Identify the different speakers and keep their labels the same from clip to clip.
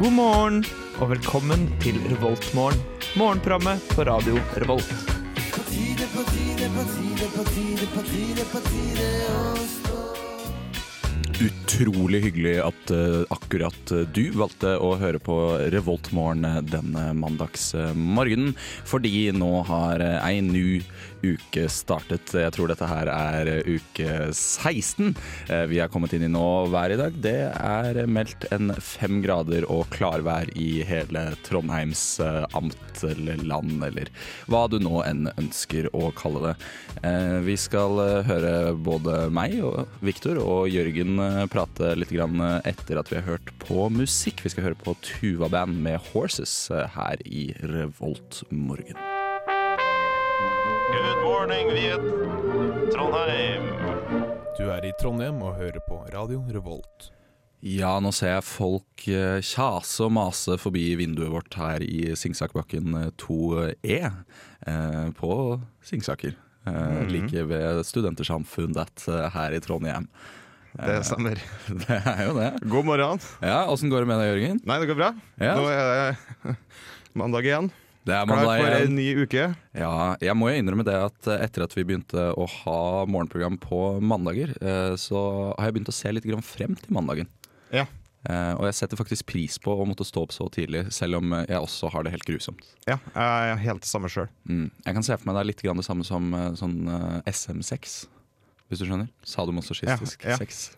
Speaker 1: God morgen og velkommen til Revoltmorgen. Morgenprogrammet på radio Revolt.
Speaker 2: Utrolig hyggelig at eh, akkurat eh, du valgte å høre på Revoltmorgen denne mandagsmorgenen. Fordi nå har eh, ei ny uke startet. Jeg tror dette her er eh, uke 16 eh, vi er kommet inn i nå. Været i dag det er meldt en fem grader og klarvær i hele Trondheims eh, amt eller land, eller hva du nå enn ønsker å kalle det. Eh, Vi skal eh, høre både meg og Viktor og Jørgen eh, prate litt grann eh, etter at vi har hørt på musikk. Vi skal høre på Tuva Band med 'Horses' eh, her i Revolt morgen.
Speaker 3: Good morning, Viet. Trondheim.
Speaker 4: Du er i Trondheim og hører på Radio Revolt.
Speaker 2: Ja, nå ser jeg folk eh, kjase og mase forbi vinduet vårt her i Singsakerbakken eh, 2E eh, på Singsaker. Eh,
Speaker 5: Mhm.
Speaker 2: Like ved Studentersamfunnet eh, her i Trondheim.
Speaker 5: Det stemmer.
Speaker 2: Det er jo det.
Speaker 5: Eh, God morgen.
Speaker 2: Ja, Åssen går det med deg, Jørgen?
Speaker 5: Nei, det går bra.
Speaker 2: Ja.
Speaker 5: Nå er det mandag igjen.
Speaker 2: Det er
Speaker 5: Klar
Speaker 2: mandag
Speaker 5: for en
Speaker 2: igjen.
Speaker 5: ny uke.
Speaker 2: Ja, jeg må jo innrømme det at eh, etter at vi begynte å ha morgenprogram på mandager, eh, så har jeg begynt å se litt grann frem til mandagen.
Speaker 5: Ja.
Speaker 2: Eh, Og jeg setter faktisk pris på å måtte stå opp så tidlig, selv om eh, jeg også har det helt grusomt.
Speaker 5: ja jeg er helt det samme sjøl.
Speaker 2: Mm. Jeg kan se for meg det er litt grann det samme som eh, sånn eh, SM-sex, hvis du skjønner. Sadomasochistisk
Speaker 5: Ja, ja.
Speaker 2: sex.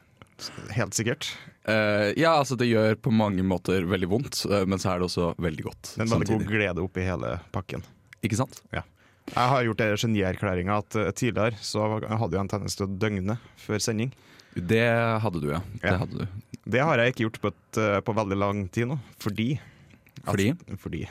Speaker 5: Helt sikkert.
Speaker 2: Eh, ja, altså det gjør på mange måter veldig vondt, eh, men så er det også veldig godt
Speaker 5: Men veldig god
Speaker 2: samtidig.
Speaker 5: glede oppi hele pakken.
Speaker 2: Ikke sant?
Speaker 5: Jeg har gjort den genierklæringa at eh, tidligere så hadde jeg en tendens til å døgne før sending.
Speaker 2: Det hadde du, ja. Det
Speaker 5: Ja.
Speaker 2: hadde du.
Speaker 5: Det har jeg ikke gjort på, et, eh, på veldig lang tid nå, fordi
Speaker 2: Fordi?
Speaker 5: Fordi jeg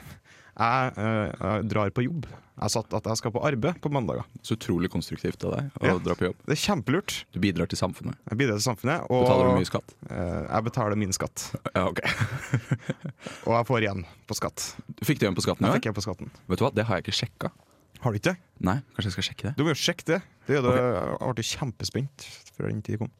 Speaker 5: eh, jeg drar på jobb. Jeg har satt at jeg skal på arbeid på mandager.
Speaker 2: Så utrolig konstruktivt av deg å
Speaker 5: Ja.
Speaker 2: dra på jobb.
Speaker 5: Det er kjempelurt.
Speaker 2: Du bidrar til samfunnet.
Speaker 5: Jeg bidrar til samfunnet, og
Speaker 2: Betaler du mye skatt?
Speaker 5: eh, jeg betaler min skatt.
Speaker 2: Ja, ok.
Speaker 5: Og jeg får igjen på skatt.
Speaker 2: Fikk du igjen på skatten i
Speaker 5: Jeg
Speaker 2: år?
Speaker 5: fikk jeg på skatten.
Speaker 2: Vet du hva, det har jeg ikke sjekka.
Speaker 5: Har du ikke det?
Speaker 2: Nei, kanskje jeg skal sjekke det.
Speaker 5: Du må jo sjekke det. Det gjør det. Jeg ble kjempespent før den tid kom.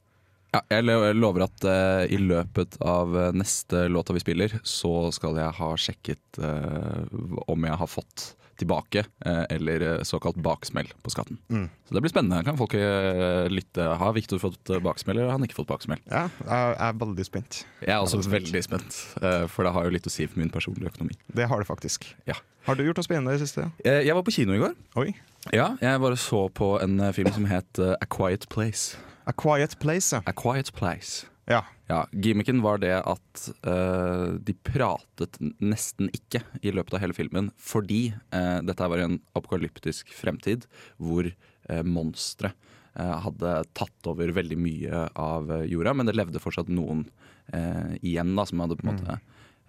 Speaker 2: Ja, jeg lo- jeg lover at eh, i løpet av eh, neste låta vi spiller, så skal jeg ha sjekket eh, om jeg har fått tilbake eh, eller eh, såkalt baksmell på skatten.
Speaker 5: Mm.
Speaker 2: Så det blir spennende. Kan folk eh, lytte? Har Viktor fått eh, baksmell, eller har han ikke fått baksmell?
Speaker 5: Ja, jeg jeg er veldig spent.
Speaker 2: Jeg er også veldig spent, eh, for det har jo litt å si for min personlige økonomi.
Speaker 5: Det har det faktisk.
Speaker 2: Ja.
Speaker 5: Har du gjort noe spennende i det siste?
Speaker 2: Eh, Jeg var på kino i går.
Speaker 5: Oi.
Speaker 2: Ja, jeg bare så på en eh, film som het eh, A Quiet Place.
Speaker 5: A Quiet Place, ja.
Speaker 2: A Quiet Place.
Speaker 5: ja.
Speaker 2: Ja, Gimmicken var det at eh, de pratet nesten ikke i løpet av hele filmen, fordi eh, dette var en apokalyptisk fremtid hvor uh, monstre eh, hadde tatt over veldig mye av eh, jorda, men det levde fortsatt noen eh, igjen da, som hadde på en måte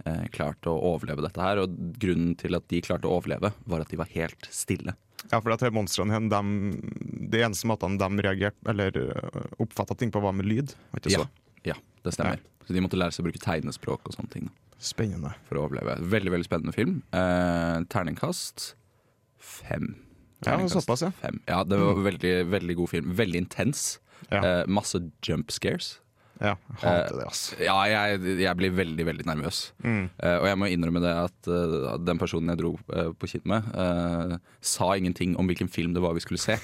Speaker 2: eh, klart å overleve dette her. Og grunnen til at de klarte å overleve, var at de var helt stille.
Speaker 5: Ja, for at de monstrene hen, dem- Det eneste måten de reagerte eller oppfatta ting på, var med lyd. Var ikke så?
Speaker 2: ja, det stemmer. Så de måtte lære seg å bruke tegnespråk og sånne ting. da.
Speaker 5: Spennende.
Speaker 2: for å overleve. Veldig veldig spennende film. Eh, terningkast fem.
Speaker 5: Ja, såpass, ja.
Speaker 2: fem. Ja, det var veldig, veldig god film. Veldig intens.
Speaker 5: Ja.
Speaker 2: Eh, masse jump scares.
Speaker 5: Ja, jeg hater det, altså. Mm.
Speaker 2: Ja, jeg, jeg blir veldig, veldig nervøs. Eh, og jeg må innrømme det at eh, den personen jeg dro eh, på kino med, eh, sa ingenting om hvilken film det var vi skulle se.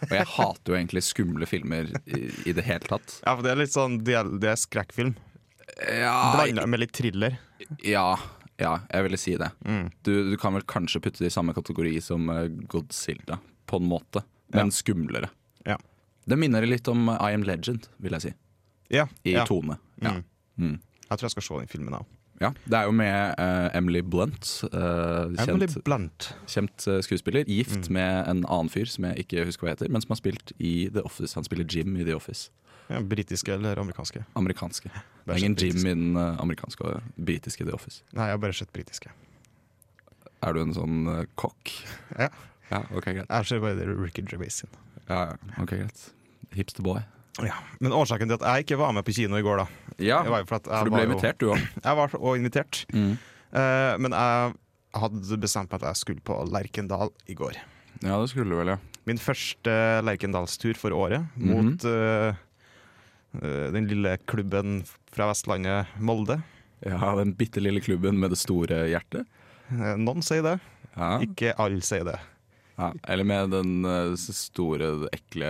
Speaker 2: Og jeg hater jo egentlig skumle filmer i, i det hele tatt.
Speaker 5: Ja, for det er litt sånn Det er, det er skrekkfilm.
Speaker 2: Ja,
Speaker 5: Blanda med litt thriller. Mm.
Speaker 2: Ja, ja jeg ville si det. Du, du kan vel kanskje putte det i samme kategori som eh, Godzilla, på en måte. Men skumlere.
Speaker 5: Ja.
Speaker 2: Det minner litt om eh, I Am Legend, vil jeg si.
Speaker 5: Ja,
Speaker 2: I
Speaker 5: ja.
Speaker 2: tone. Ja.
Speaker 5: Mm.
Speaker 2: Mm.
Speaker 5: Jeg tror jeg skal se den filmen, jeg òg.
Speaker 2: ja. Det er jo med eh, Emily Blunt, eh,
Speaker 5: Emily Mm.
Speaker 2: kjent,
Speaker 5: Blunt.
Speaker 2: kjent eh, skuespiller. Gift med en annen fyr som jeg ikke husker hva heter, men som har spilt i The Office. Han spiller Jim i The Office.
Speaker 5: Ja, Britiske eller amerikanske?
Speaker 2: Amerikanske. Det
Speaker 5: Bare
Speaker 2: er ingen
Speaker 5: så britisk.
Speaker 2: Jim i den eh, amerikanske og britiske The Office.
Speaker 5: Nei, jeg har bare sett britiske.
Speaker 2: Er du en sånn eh, kokk?
Speaker 5: Ja.
Speaker 2: Ja, ok, greit.
Speaker 5: Jeg ser bare Ricky Gervais sin.
Speaker 2: Ja, ja. ok, greit. Hipster boy.
Speaker 5: Ja. Men årsaken til at jeg ikke var med på kino i går, da
Speaker 2: Ja,
Speaker 5: Det var jo for at jeg
Speaker 2: for du ble
Speaker 5: var jo-
Speaker 2: invitert, du òg.
Speaker 5: Jeg var også invitert.
Speaker 2: Mm.
Speaker 5: Eh, men jeg hadde bestemt meg at jeg skulle på Lerkendal i går.
Speaker 2: Ja, det skulle du vel, ja.
Speaker 5: Min første Lerkendalstur for året
Speaker 2: Mhm.
Speaker 5: mot eh, eh, den lille klubben fra Vestlandet, Molde.
Speaker 2: Ja, Den bitte lille klubben med det store hjertet.
Speaker 5: Eh, Noen sier det,
Speaker 2: Ja.
Speaker 5: ikke alle sier det.
Speaker 2: Ja. Eller med den eh, store, ekle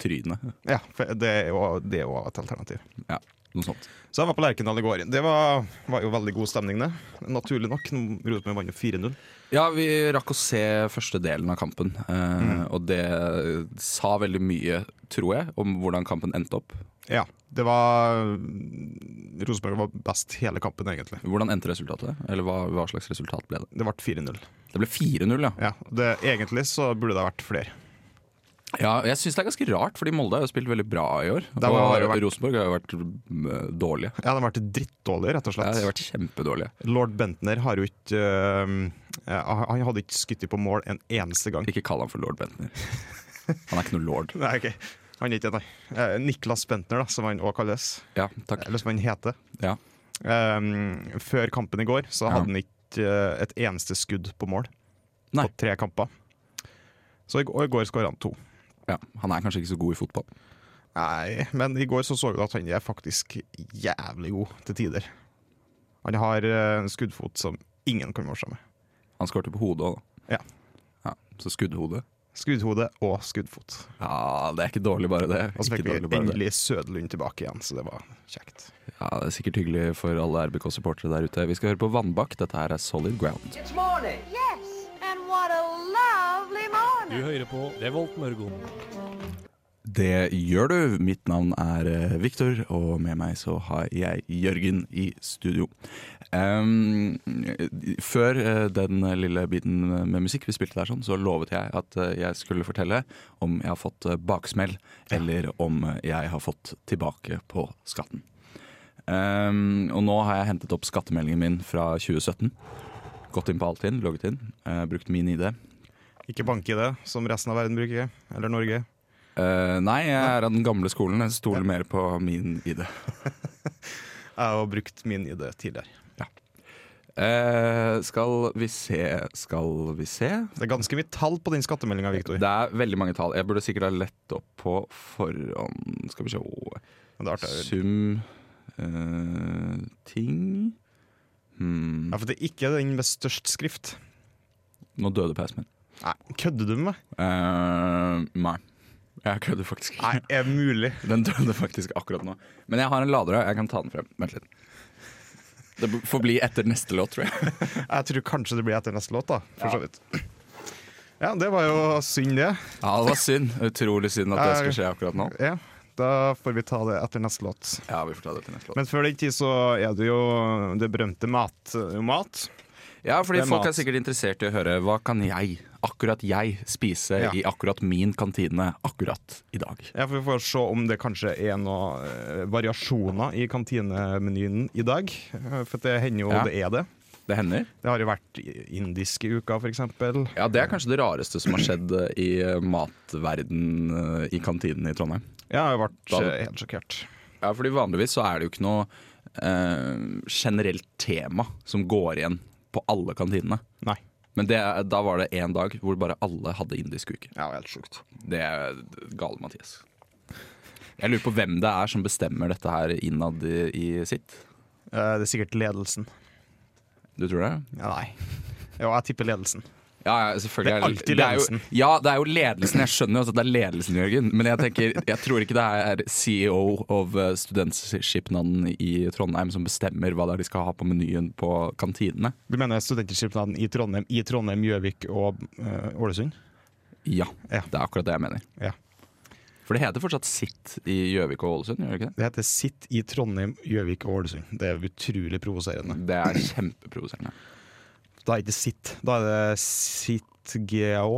Speaker 2: trynet.
Speaker 5: Ja, for det er jo, det er jo et alternativ.
Speaker 2: Ja, noe sånt.
Speaker 5: Så jeg var på Lerkendal i går. Det var, var jo veldig god stemning, det. Naturlig nok. Rosenborg vant jo 4-0.
Speaker 2: Ja, vi rakk å se første delen av kampen, eh, og det sa veldig mye, tror jeg, om hvordan kampen endte opp.
Speaker 5: Ja, det var Rosenborg var best hele kampen, egentlig.
Speaker 2: Hvordan endte resultatet? Eller hva, hva slags resultat ble det?
Speaker 5: Det ble 4-0.
Speaker 2: Det ble 4-0, ja.
Speaker 5: Ja, det, egentlig så burde det ha vært flere.
Speaker 2: ja. Jeg syns det er ganske rart, fordi Molde har jo spilt veldig bra i år.
Speaker 5: Det har
Speaker 2: Og
Speaker 5: jo vært-
Speaker 2: Rosenborg har jo vært mm, dårlige.
Speaker 5: Ja, De har vært drittdårlige, rett og
Speaker 2: Ja,
Speaker 5: slett.
Speaker 2: de har vært kjempedårlige.
Speaker 5: Lord Bentner har jo ikke eh, Han han hadde ikke skutt på mål en eneste gang.
Speaker 2: Ikke kall ham for lord Bentner. Han er ikke noe lord.
Speaker 5: Nei, ok. Han er ikke det, nei. Eh, Niklas Bentner, da, som han òg kalles.
Speaker 2: Ja, takk.
Speaker 5: Eller som han heter.
Speaker 2: Ja.
Speaker 5: Eh, før kampen i går så
Speaker 2: Ja.
Speaker 5: hadde han ikke eh, et eneste skudd på mål
Speaker 2: Nei.
Speaker 5: på tre kamper. Så i, og i går skåra han to.
Speaker 2: Ja, han er kanskje ikke så god i fotball.
Speaker 5: Nei, men i går så, så vi at han er faktisk jævlig god til tider. Han har eh, en skuddfot som ingen kan måle seg med.
Speaker 2: Han skårte på hodet òg, da.
Speaker 5: Ja.
Speaker 2: ja. Så skuddhode.
Speaker 5: Skuddhode og skuddfot.
Speaker 2: Ja, det er ikke dårlig, bare det.
Speaker 5: Og så fikk
Speaker 2: Ikke
Speaker 5: vi
Speaker 2: dårlig, bare det.
Speaker 5: endelig Søderlund tilbake igjen, så det var kjekt.
Speaker 2: Ja, Det er sikkert hyggelig for alle RBK-supportere der ute. Vi skal høre på Vannbakk. Dette her er Solid Ground.
Speaker 6: It's morning.
Speaker 7: Yes, and what a lovely morning.
Speaker 8: hører på Revolt Mørgon.
Speaker 2: Det gjør du. Mitt navn er eh, Victor, og med meg så har jeg Jørgen i studio. Ehm, før eh, den lille biten med musikk vi spilte der, sånn, så lovet jeg at eh, jeg skulle fortelle om jeg har fått eh, baksmell, eller om eh, jeg har fått tilbake på skatten. Ehm, og nå har jeg hentet opp skattemeldingen min fra 2017. Gått inn på Altinn, logget inn, eh, brukt min ID.
Speaker 5: Ikke bank i det, som resten av verden bruker. Eller Norge.
Speaker 2: Eh, nei, jeg er av den gamle skolen. Jeg stoler mer på min ID.
Speaker 5: Jeg har brukt min ID tidligere.
Speaker 2: Eh, skal vi se Skal vi se
Speaker 5: Det er ganske mye tall på den skattemeldinga, Viktor.
Speaker 2: Det er veldig mange tall. Jeg burde sikkert ha lett opp på forhånd. Skal vi se Åh,
Speaker 5: Men det er artig.
Speaker 2: Sum eh, ting hmm.
Speaker 5: Ja, for det er ikke den med størst skrift.
Speaker 2: Nå døde PC-en min.
Speaker 5: Nei, kødder du med meg?
Speaker 2: Eh, nei. Jeg kødder faktisk ikke.
Speaker 5: Nei, er det mulig?
Speaker 2: Den døde faktisk akkurat nå. Men jeg har en lader her. Jeg kan ta den frem. Vent litt. Det får bli etter neste låt, tror jeg.
Speaker 5: Jeg tror kanskje det blir etter neste låt, da. For så vidt. Ja, det var jo synd, det.
Speaker 2: Ja, det var synd. Utrolig synd at det skal skje akkurat nå.
Speaker 5: Ja, da får vi ta det etter neste låt.
Speaker 2: Ja, vi får ta det til neste låt.
Speaker 5: Men før den tid så er det jo det berømte mat. eh, mat.
Speaker 2: Ja, fordi
Speaker 5: Det er
Speaker 2: folk
Speaker 5: mat.
Speaker 2: er sikkert interessert i å høre hva kan jeg, akkurat jeg, spise
Speaker 5: Ja.
Speaker 2: i akkurat min kantine akkurat i dag.
Speaker 5: Ja, for Vi får se om det kanskje er noen eh, variasjoner i kantinemenyen i dag. Eh, For det hender jo
Speaker 2: Ja.
Speaker 5: det er det.
Speaker 2: Det hender.
Speaker 5: Det har jo vært i- indisk i uka, f.eks.
Speaker 2: Ja, Det er kanskje det rareste som har skjedd eh, i matverden eh, i kantinen i Trondheim.
Speaker 5: Jeg har jo vært
Speaker 2: Da-
Speaker 5: eh, helt sjokkert.
Speaker 2: Ja, fordi Vanligvis så er det jo ikke noe eh, generelt tema som går igjen på alle kantinene.
Speaker 5: Nei.
Speaker 2: Men det, da var det én dag hvor bare alle hadde indisk uke.
Speaker 5: Ja, helt sjukt.
Speaker 2: Det er gale, Mathias. Jeg lurer på hvem det er som bestemmer dette her innad i, i sitt.
Speaker 5: Eh, Det er sikkert ledelsen.
Speaker 2: Du tror det?
Speaker 5: Ja, nei. Jo, jeg tipper ledelsen.
Speaker 2: Ja, ja, selvfølgelig.
Speaker 5: Det er alltid
Speaker 2: jo-
Speaker 5: ledelsen.
Speaker 2: ja, det er jo ledelsen. Jeg skjønner jo også at det er ledelsen, Jørgen. Men jeg tenker, jeg tror ikke det er CEO of eh, studentskipnaden i Trondheim som bestemmer hva det er de skal ha på menyen på kantinene.
Speaker 5: Du mener studentskipnaden i Trondheim, i Trondheim, Gjøvik og eh, Ålesund?
Speaker 2: Ja,
Speaker 5: Ja.
Speaker 2: det er akkurat det jeg mener.
Speaker 5: Ja.
Speaker 2: For det heter fortsatt sitt i Gjøvik og Ålesund, gjør det ikke det?
Speaker 5: Det heter Sitt i Trondheim, Gjøvik og Ålesund. Det er utrolig provoserende.
Speaker 2: Det er kjempeprovoserende.
Speaker 5: Da er det ikke sitt, da er det sitt GH.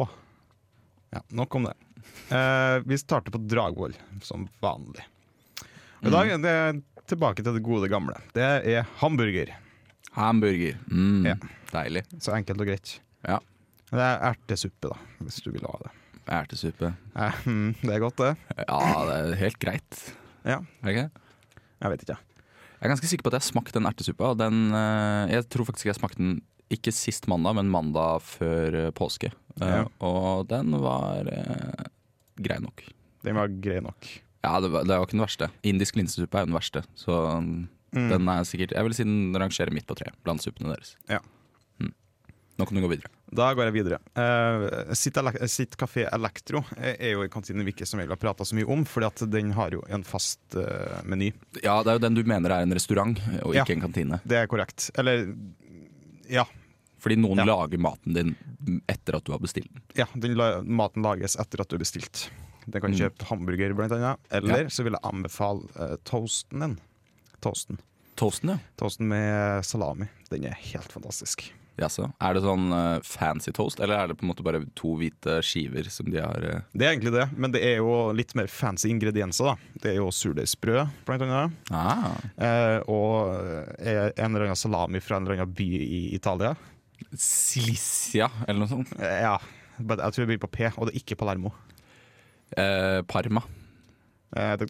Speaker 5: Ja, nok om det. Eh, vi starter på Dragvoll, som vanlig. Og I dag er det tilbake til det gode gamle. Det er hamburger,
Speaker 2: Hamburger. Mm,
Speaker 5: Ja.
Speaker 2: Deilig.
Speaker 5: så enkelt og greit.
Speaker 2: Ja.
Speaker 5: Det er ertesuppe, da, hvis du vil ha det.
Speaker 2: Ertesuppe.
Speaker 5: Eh, mm, det er godt, det.
Speaker 2: Ja, det er helt greit.
Speaker 5: Ja,
Speaker 2: Er det ikke det?
Speaker 5: jeg vet ikke.
Speaker 2: Jeg er ganske sikker på at jeg har smakt den ertesuppa. og Den, eh, jeg tror faktisk jeg smakte den ikke sist mandag, men mandag før eh, påske. Eh,
Speaker 5: Ja.
Speaker 2: Og den var eh, grei nok.
Speaker 5: Den var grei nok.
Speaker 2: Ja, det var, det var ikke den verste. Indisk linsesuppe er jo den verste, så mm, Den er sikkert, Jeg vil si den rangerer midt på treet blant suppene deres.
Speaker 5: Ja.
Speaker 2: Mm. Nå kan du gå videre.
Speaker 5: Da går jeg videre. Eh, sitt, ele sitt Café Elektro eh, er jo en kantine vi ikke som regel har prata så mye om, Fordi at den har jo en fast eh, meny.
Speaker 2: Ja, Det er jo den du mener er en restaurant, og
Speaker 5: Ja.
Speaker 2: ikke en kantine.
Speaker 5: Det er korrekt. Eller ja.
Speaker 2: Fordi noen
Speaker 5: Ja.
Speaker 2: lager maten din etter at du har bestilt den.
Speaker 5: ja den la maten lages etter at du har bestilt. Den kan
Speaker 2: Mm.
Speaker 5: kjøpe hamburger, blant annet. Eller
Speaker 2: Ja.
Speaker 5: så vil jeg anbefale eh, toasten din. Toasten.
Speaker 2: Toasten, ja.
Speaker 5: Toasten med salami. Den er helt fantastisk.
Speaker 2: Jaså. Er det sånn eh, fancy toast, eller er det på en måte bare to hvite skiver som de har eh,
Speaker 5: Det er egentlig det, men det er jo litt mer fancy ingredienser. da Det er jo surdeigsbrød, blant annet.
Speaker 2: ah,
Speaker 5: Eh, og eh, en eller annen salami fra en eller annen by i Italia.
Speaker 2: Slicia, eller noe sånt?
Speaker 5: Eh, ja, but jeg tror det begynner på P, og det er ikke Palermo.
Speaker 2: Eh, Parma.
Speaker 5: Eh, det,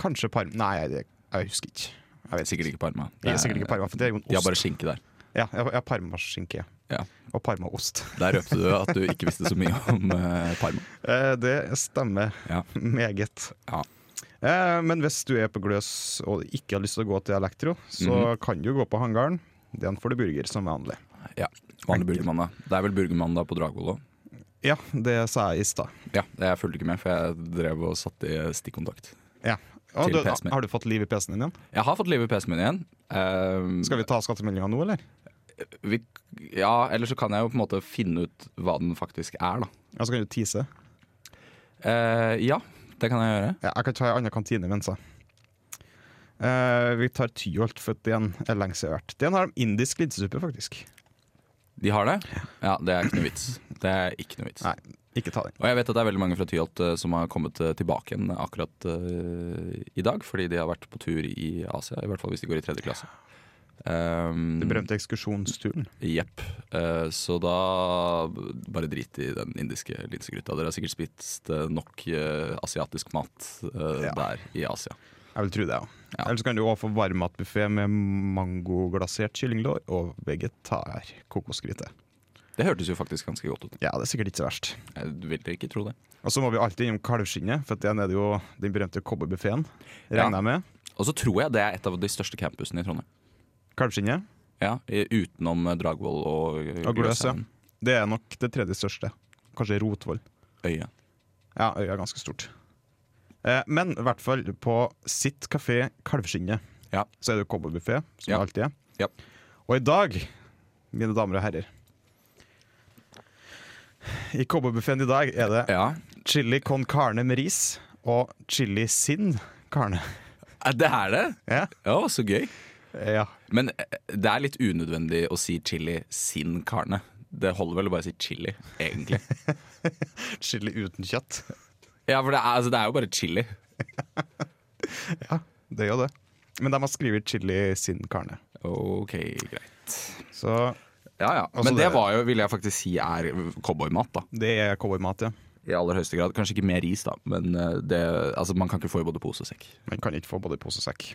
Speaker 5: kanskje Parma Nei, det, jeg husker ikke. Jeg vet
Speaker 2: Sikkert ikke Parma.
Speaker 5: Det er sikkert ikke Parma, for det er jo en ost.
Speaker 2: De har bare skinke der.
Speaker 5: Ja, jeg, jeg har parmaskinke
Speaker 2: Ja.
Speaker 5: og parmaost.
Speaker 2: Der røpte du at du ikke visste så mye om eh, Parma.
Speaker 5: Eh, det stemmer
Speaker 2: Ja.
Speaker 5: meget.
Speaker 2: Ja.
Speaker 5: Eh, men hvis du er på gløs og ikke har lyst til å gå til elektro, så
Speaker 2: Mhm.
Speaker 5: kan du gå på hangaren. Den får du burger som vanlig.
Speaker 2: ja. Vanlig burgermandag. Det er vel burgermandag på Dragvoll òg?
Speaker 5: Ja, det sa jeg i stad.
Speaker 2: Ja, jeg fulgte ikke med, for jeg drev og satt i eh, stikkontakt.
Speaker 5: Ja. Å,
Speaker 2: Til
Speaker 5: du,
Speaker 2: PC-en min.
Speaker 5: har du fått liv i PC-en din igjen?
Speaker 2: Jeg har fått liv i PC-en min igjen. Eh,
Speaker 5: Skal vi ta skattemeldinga nå, eller?
Speaker 2: vi, ja, eller så kan jeg jo på en måte finne ut hva den faktisk er, da.
Speaker 5: Ja, så kan du tease.
Speaker 2: Eh, ja, det kan jeg gjøre.
Speaker 5: Ja, jeg kan ta en annen kantine mens jeg. Eh, vi tar Tyholt, for den er lenge siden jeg har vært. Den har de indisk linsesuppe, faktisk.
Speaker 2: De har det? Ja, det er ikke noe vits. Det er ikke noe vits.
Speaker 5: Nei, ikke ta den.
Speaker 2: Og jeg vet at det er veldig mange fra Tyholt eh, som har kommet eh, tilbake igjen akkurat eh, i dag, fordi de har vært på tur i Asia, i hvert fall hvis de går i tredje klasse. Um,
Speaker 5: Den berømte ekskursjonsturen.
Speaker 2: Jepp. Eh, så da bare drit i den indiske linsegryta. Dere har sikkert spist eh, nok eh, asiatisk mat eh,
Speaker 5: Ja.
Speaker 2: der i Asia.
Speaker 5: Jeg vil tro det, ja.
Speaker 2: Ja.
Speaker 5: Eller så kan du også få varmmatbuffé med mangoglasert kyllinglår og vegetarkokosgryte.
Speaker 2: Det hørtes jo faktisk ganske godt ut.
Speaker 5: Ja, det er sikkert ikke så verst.
Speaker 2: Jeg ville ikke tro det.
Speaker 5: Og så må vi alltid innom kalvskinnet, for den er det jo den berømte cowboybuffeen.
Speaker 2: Ja.
Speaker 5: Regner jeg med.
Speaker 2: Og så tror jeg det er et av de største campusene i Trondheim.
Speaker 5: Kalvskinnet.
Speaker 2: Ja, i- Utenom eh, Dragvoll og, eh,
Speaker 5: Og Gløs, ja.
Speaker 2: Gløshaugen.
Speaker 5: altså. Det er nok det tredje største. Kanskje Rotvoll.
Speaker 2: Øya.
Speaker 5: Ja, øya er ganske stort. Eh, men i hvert fall på sitt kafé Kalvskinnet
Speaker 2: Ja.
Speaker 5: så er det jo cowboybuffé, som
Speaker 2: Ja.
Speaker 5: det alltid er.
Speaker 2: Ja.
Speaker 5: Og i dag, mine damer og herrer I cowboybuffeen i dag er det
Speaker 2: Ja.
Speaker 5: chili con carne med ris og chili sin carne.
Speaker 2: Eh, Det er det!
Speaker 5: Ja.
Speaker 2: Ja, så gøy.
Speaker 5: ja.
Speaker 2: Men eh, det er litt unødvendig å si chili sin karne. Det holder vel å bare si chili, egentlig.
Speaker 5: Chili uten kjøtt.
Speaker 2: Ja, for det er, altså, det er jo bare chili.
Speaker 5: Det gjør det. Men de har skrevet chili sin carne.
Speaker 2: Ok, greit.
Speaker 5: Så
Speaker 2: Ja, ja.
Speaker 5: Altså,
Speaker 2: Men det
Speaker 5: det-
Speaker 2: var jo, vil jeg faktisk si, er cowboymat, da.
Speaker 5: det er cowboymat, ja.
Speaker 2: I aller høyeste grad. Kanskje ikke mer ris, da, men eh, det, altså, man kan ikke få i både pose og sekk.
Speaker 5: Man kan ikke få både i pose og sekk.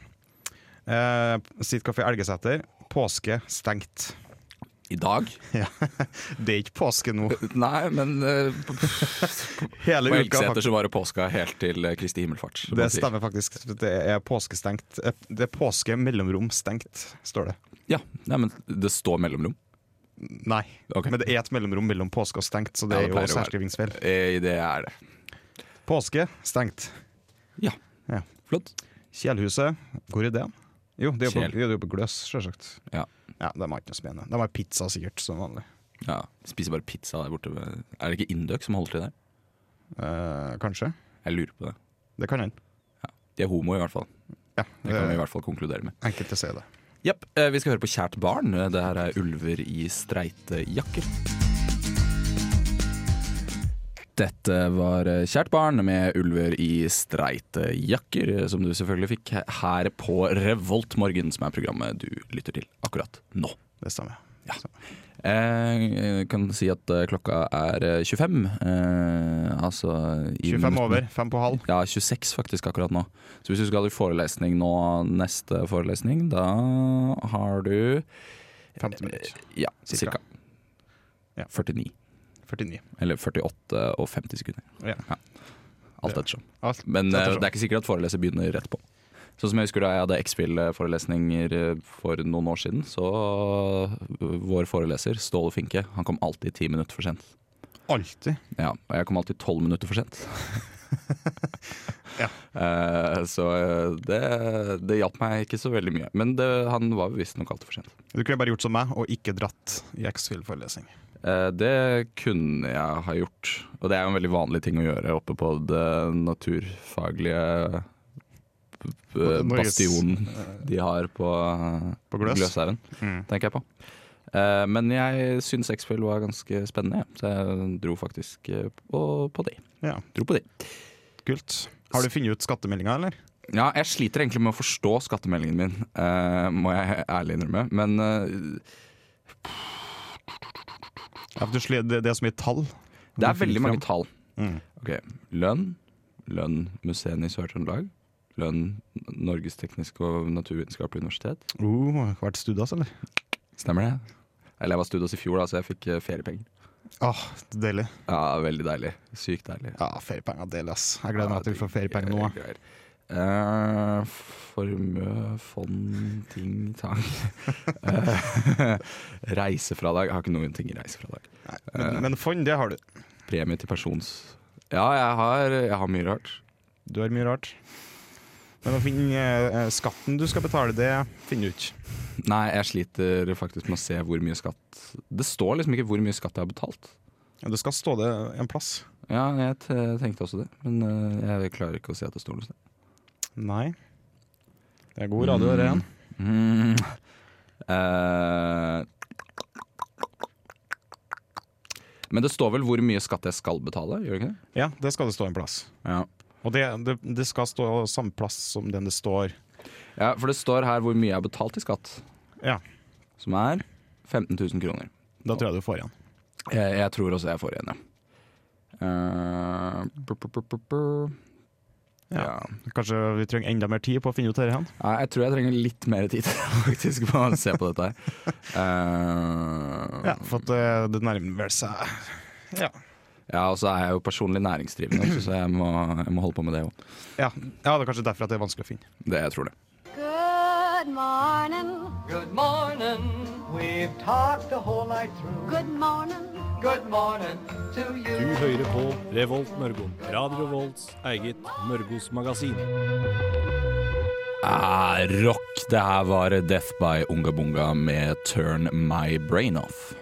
Speaker 5: Eh, sitt kafé Elgeseter. Påske stengt.
Speaker 2: I dag?
Speaker 5: Ja. Det er ikke påske nå.
Speaker 2: Nei, men eh, på
Speaker 5: Hele uka,
Speaker 2: Elgeseter
Speaker 5: faktisk.
Speaker 2: så var det påska helt til eh, Kristi himmelfart. som
Speaker 5: Det
Speaker 2: man sier.
Speaker 5: stemmer faktisk. Det er påskestengt. Eh, Det er påske mellomrom stengt, står det.
Speaker 2: Ja, nei, men det står mellomrom.
Speaker 5: Nei,
Speaker 2: Ok.
Speaker 5: men det er et mellomrom mellom påske og stengt, så det
Speaker 2: Ja,
Speaker 5: er
Speaker 2: det
Speaker 5: jo
Speaker 2: pleier å
Speaker 5: også
Speaker 2: være.
Speaker 5: herskrivingsfeil.
Speaker 2: Eh, Det er det.
Speaker 5: Påske stengt.
Speaker 2: Ja.
Speaker 5: Ja.
Speaker 2: Flott.
Speaker 5: Kjelhuset, hvor er det? Jo, det er jo på,
Speaker 2: Kjel.
Speaker 5: det er jo på Gløs, sjølsagt.
Speaker 2: Ja.
Speaker 5: Ja, de har ikke noe spennende. De har pizza sikkert, som vanlig.
Speaker 2: Ja, Spiser bare pizza der borte. ved- Er det ikke Indøk som holder til der?
Speaker 5: Eh, kanskje.
Speaker 2: Jeg lurer på det.
Speaker 5: Det kan hende.
Speaker 2: De er homo, i hvert fall.
Speaker 5: Ja,
Speaker 2: Det kan vi i
Speaker 5: det
Speaker 2: hvert fall konkludere med.
Speaker 5: er enkelt å si det.
Speaker 2: Japp, eh, vi skal høre på Kjært barn. Det her er ulver i streite jakker. Dette var eh, Kjært barn med ulver i streite jakker, eh, som du selvfølgelig fikk her på Revolt morgen, som er programmet du lytter til akkurat nå.
Speaker 5: Det stemmer.
Speaker 2: Eh, Jeg kan si at eh, klokka er eh, 25. Eh, altså i
Speaker 5: 25
Speaker 2: minuttene.
Speaker 5: over, 5 på halv.
Speaker 2: Ja, 26 faktisk akkurat nå. Så hvis du skal ha forelesning nå, neste forelesning, da har du eh,
Speaker 5: 50 minutter.
Speaker 2: Ja, cirka.
Speaker 5: Cirka. Ja.
Speaker 2: 49.
Speaker 5: 49.
Speaker 2: Eller 48 og 50 sekunder.
Speaker 5: Ja.
Speaker 2: Alt
Speaker 5: Ja.
Speaker 2: ettersom.
Speaker 5: Alt.
Speaker 2: Men
Speaker 5: Alt
Speaker 2: eh,
Speaker 5: ettersom.
Speaker 2: det er ikke sikkert at foreleser begynner rett på. Sånn som jeg husker da jeg hadde X-Fill-forelesninger eh, for noen år siden, så eh, vår foreleser, Ståle Finke, han kom alltid ti minutter for sent.
Speaker 5: Alltid.
Speaker 2: Ja, og jeg kom alltid tolv minutter for sent.
Speaker 5: Ja.
Speaker 2: Eh, så eh, det, det hjalp meg ikke så veldig mye. Men det, han var visstnok alltid for sent.
Speaker 5: Du kunne bare gjort som meg og ikke dratt i X-Fill-forelesning.
Speaker 2: Eh, Det kunne jeg ha gjort. Og det er jo en veldig vanlig ting å gjøre oppe på det naturfaglige b-
Speaker 5: Norges- eh,
Speaker 2: bastionen de har på,
Speaker 5: På Gløs.
Speaker 2: Gløshaugen,
Speaker 5: Mm.
Speaker 2: tenker jeg på. Eh, Men jeg syns X-Fill var ganske spennende, jeg. så jeg dro faktisk eh, på, på de.
Speaker 5: Ja,
Speaker 2: Dro på de.
Speaker 5: kult. Har du funnet ut skattemeldinga, eller?
Speaker 2: Ja, jeg sliter egentlig med å forstå skattemeldingen min, eh, må jeg ærlig innrømme. Men eh,
Speaker 5: Ja, for du sli- det, det er så mye tall.
Speaker 2: Det er veldig mange
Speaker 5: tall.
Speaker 2: tall.
Speaker 5: Mm.
Speaker 2: Ok, Lønn. Lønn Museene i Sør-Trøndelag. Lønn Norges tekniske og naturvitenskapelige universitet.
Speaker 5: Uh, vært studas, eller?
Speaker 2: Stemmer det? Eller jeg var studios i fjor, da, så jeg fikk eh, feriepenger.
Speaker 5: Åh, deilig.
Speaker 2: Ja, Veldig deilig. Sykt deilig.
Speaker 5: Ja, feriepenger er deilig, ass. Jeg gleder meg til vi får feriepenger nå. jeg.
Speaker 2: Greier. Eh, formue, fond, ting, tang Eh, Reisefradrag. Jeg har ikke noen ting i reisefradrag.
Speaker 5: Men, men fond, det har du.
Speaker 2: Premie til persons... Ja, jeg har, jeg har mye rart.
Speaker 5: Du har mye rart. Men å finne eh, skatten du skal betale, det finner du ikke.
Speaker 2: Nei, jeg sliter faktisk med å se hvor mye skatt Det står liksom ikke hvor mye skatt jeg har betalt.
Speaker 5: Ja, Det skal stå det en plass.
Speaker 2: Ja, jeg t tenkte også det, men eh, jeg klarer ikke å se at det står noe sted.
Speaker 5: Nei. Det er god radio, det igjen.
Speaker 2: Mm. Eh, men det står vel hvor mye skatt jeg skal betale, gjør det ikke det?
Speaker 5: Ja, det skal det stå en plass.
Speaker 2: Ja.
Speaker 5: Og det, det, det skal stå samme plass som den det står.
Speaker 2: ja, for det står her hvor mye jeg har betalt i skatt,
Speaker 5: Ja,
Speaker 2: som er 15 000 kroner.
Speaker 5: da tror jeg du får igjen.
Speaker 2: Jeg, jeg tror også jeg får igjen, ja. Eh, bu- bu- bu- bu- bu.
Speaker 5: Ja.
Speaker 2: ja.
Speaker 5: Kanskje vi trenger enda mer tid på å finne ut dette? igjen?
Speaker 2: Nei, jeg tror jeg trenger litt mer tid faktisk på å se på dette her. Eh,
Speaker 5: Ja, for at eh, det nærmer vel seg ja.
Speaker 2: ja, og så er jeg jo personlig næringsdrivende, ikke, så jeg må, jeg må holde på med det òg.
Speaker 5: Ja. ja, det er kanskje derfor at det er vanskelig å finne.
Speaker 2: Det jeg tror det.
Speaker 7: Good morning.
Speaker 6: Good morning. We've talked the whole night through.
Speaker 7: Good morning.
Speaker 6: Good morning to you.
Speaker 8: Du hører på Revolt Mørgo. Radio Revolts eget Mørgos magasin.
Speaker 2: Ah, rock! Det her var Death by Ungabunga med 'Turn My Brain Off'.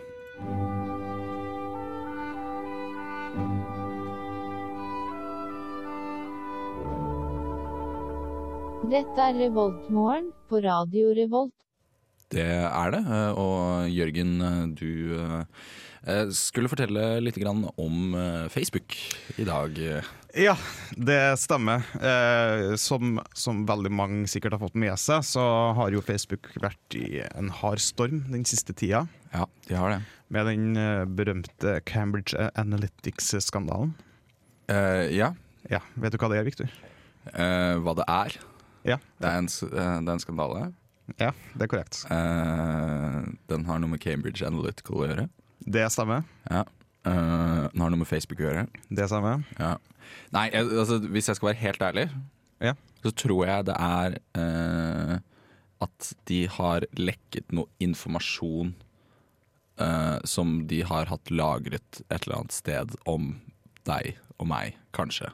Speaker 9: Dette er Revoltmorgen på Radio Revolt.
Speaker 2: Det er det. eh, Og Jørgen, eh, du eh, skulle fortelle litt grann om eh, Facebook i dag.
Speaker 5: Ja, det stemmer. Eh, som, som veldig mange sikkert har fått med seg, så har jo Facebook vært i en hard storm den siste tida.
Speaker 2: Ja, de har det.
Speaker 5: Med den eh, berømte Cambridge Analytics-skandalen.
Speaker 2: Eh, ja,
Speaker 5: Ja, Vet du hva det er, Victor?
Speaker 2: eh, hva det er.
Speaker 5: Ja,
Speaker 2: Det er en, s- eh, det er en skandale.
Speaker 5: ja det er korrekt.
Speaker 2: Eh, den har noe med Cambridge Analytical å gjøre.
Speaker 5: Det stemmer.
Speaker 2: Ja. Eh, den har noe med Facebook å gjøre.
Speaker 5: Det stemmer.
Speaker 2: Ja. Nei, jeg, altså, hvis jeg skal være helt ærlig,
Speaker 5: Ja.
Speaker 2: så tror jeg det er eh, at de har lekket noe informasjon eh, som de har hatt lagret et eller annet sted om deg og meg, kanskje.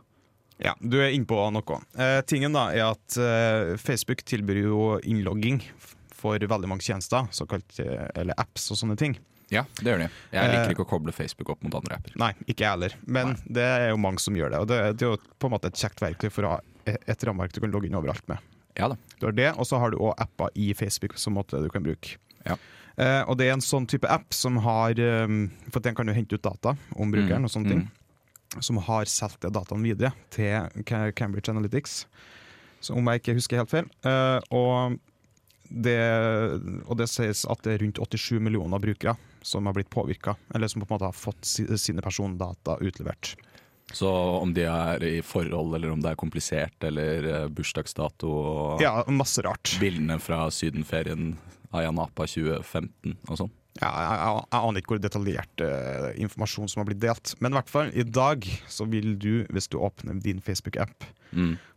Speaker 5: Ja, du er innpå noe. Eh, tingen da er at eh, Facebook tilbyr jo innlogging f- for veldig mange tjenester, såkalt, eh, eller apps og sånne ting.
Speaker 2: Ja, det gjør de. Jeg
Speaker 5: Eh,
Speaker 2: liker ikke å koble Facebook opp mot andre apper.
Speaker 5: Nei, ikke jeg heller, men det er jo mange som gjør det. Og det, det er jo på en måte et kjekt verktøy for å ha e- et rammeverk du kan logge inn overalt med.
Speaker 2: Ja da.
Speaker 5: Du har det, og så har du òg apper i Facebook som måte du kan bruke.
Speaker 2: Ja.
Speaker 5: Eh, og det er en sånn type app som har eh, For den kan jo hente ut data om brukeren og sånne ting. Som har solgt de dataene videre til Ca- Cambridge Analytics, så om jeg ikke husker helt feil. Eh, og, det, og det sies at det er rundt 87 millioner brukere som har blitt påvirka, eller som på en måte har fått si, sine persondata utlevert.
Speaker 2: Så om de er i forhold, eller om det er komplisert, eller eh, bursdagsdato og
Speaker 5: Ja, masse rart.
Speaker 2: bildene fra sydenferien Ayia Napa 2015 og sånn.
Speaker 5: Ja, jeg, jeg, jeg aner ikke hvor detaljert eh, informasjon som har blitt delt. Men i hvert fall,
Speaker 2: Mm.
Speaker 5: i dag så vil du, hvis du åpner din Facebook-app,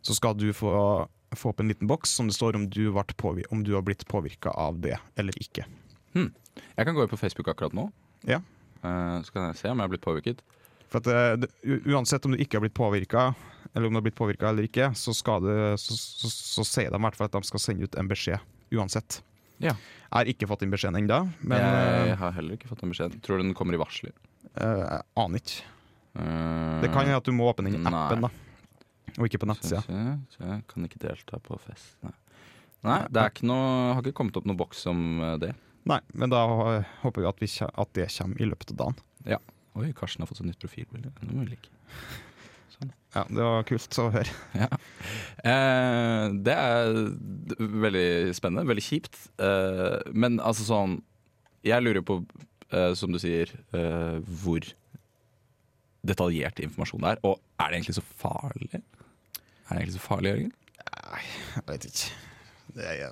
Speaker 5: så skal du få få opp en liten boks som det står om du, vart påvi- om du har blitt påvirka av det eller ikke.
Speaker 2: Jeg kan gå inn på Facebook akkurat nå,
Speaker 5: Ja.
Speaker 2: eh, så kan jeg se om jeg har blitt påvirket.
Speaker 5: For at, eh, det, u- uansett om du ikke har blitt påvirka, eller om du har blitt påvirket eller ikke, så, skal du, så, så, så sier de i hvert fall at de skal sende ut en beskjed uansett.
Speaker 2: Ja.
Speaker 5: Jeg har ikke fått inn beskjeden ennå, men eh,
Speaker 2: jeg
Speaker 5: jeg
Speaker 2: har heller ikke fått den beskjeden. Tror du den kommer i varsler?
Speaker 5: jeg aner ikke.
Speaker 2: Eh,
Speaker 5: Det kan hende at du må åpne den i
Speaker 2: Nei.
Speaker 5: appen, da. Og ikke på
Speaker 2: skal
Speaker 5: nettsida.
Speaker 2: vi se, så jeg Kan ikke delta på fest. Nei, Nei det er ikke noe, har ikke kommet opp noen boks om eh, det.
Speaker 5: Nei, men da eh, håper vi at, vi kje- at det kommer i løpet av dagen.
Speaker 2: Oi, Karsten har fått seg nytt profilbilde. Det må vi like.
Speaker 5: Ja, Det var kult å høre.
Speaker 2: Eh, det er d- veldig spennende, veldig kjipt. Eh, men altså sånn Jeg lurer på, eh, som du sier, eh, hvor detaljert informasjon det er. Og er det egentlig så farlig? Er det egentlig så farlig, Jørgen?
Speaker 5: Jeg vet ikke. Det er, eh,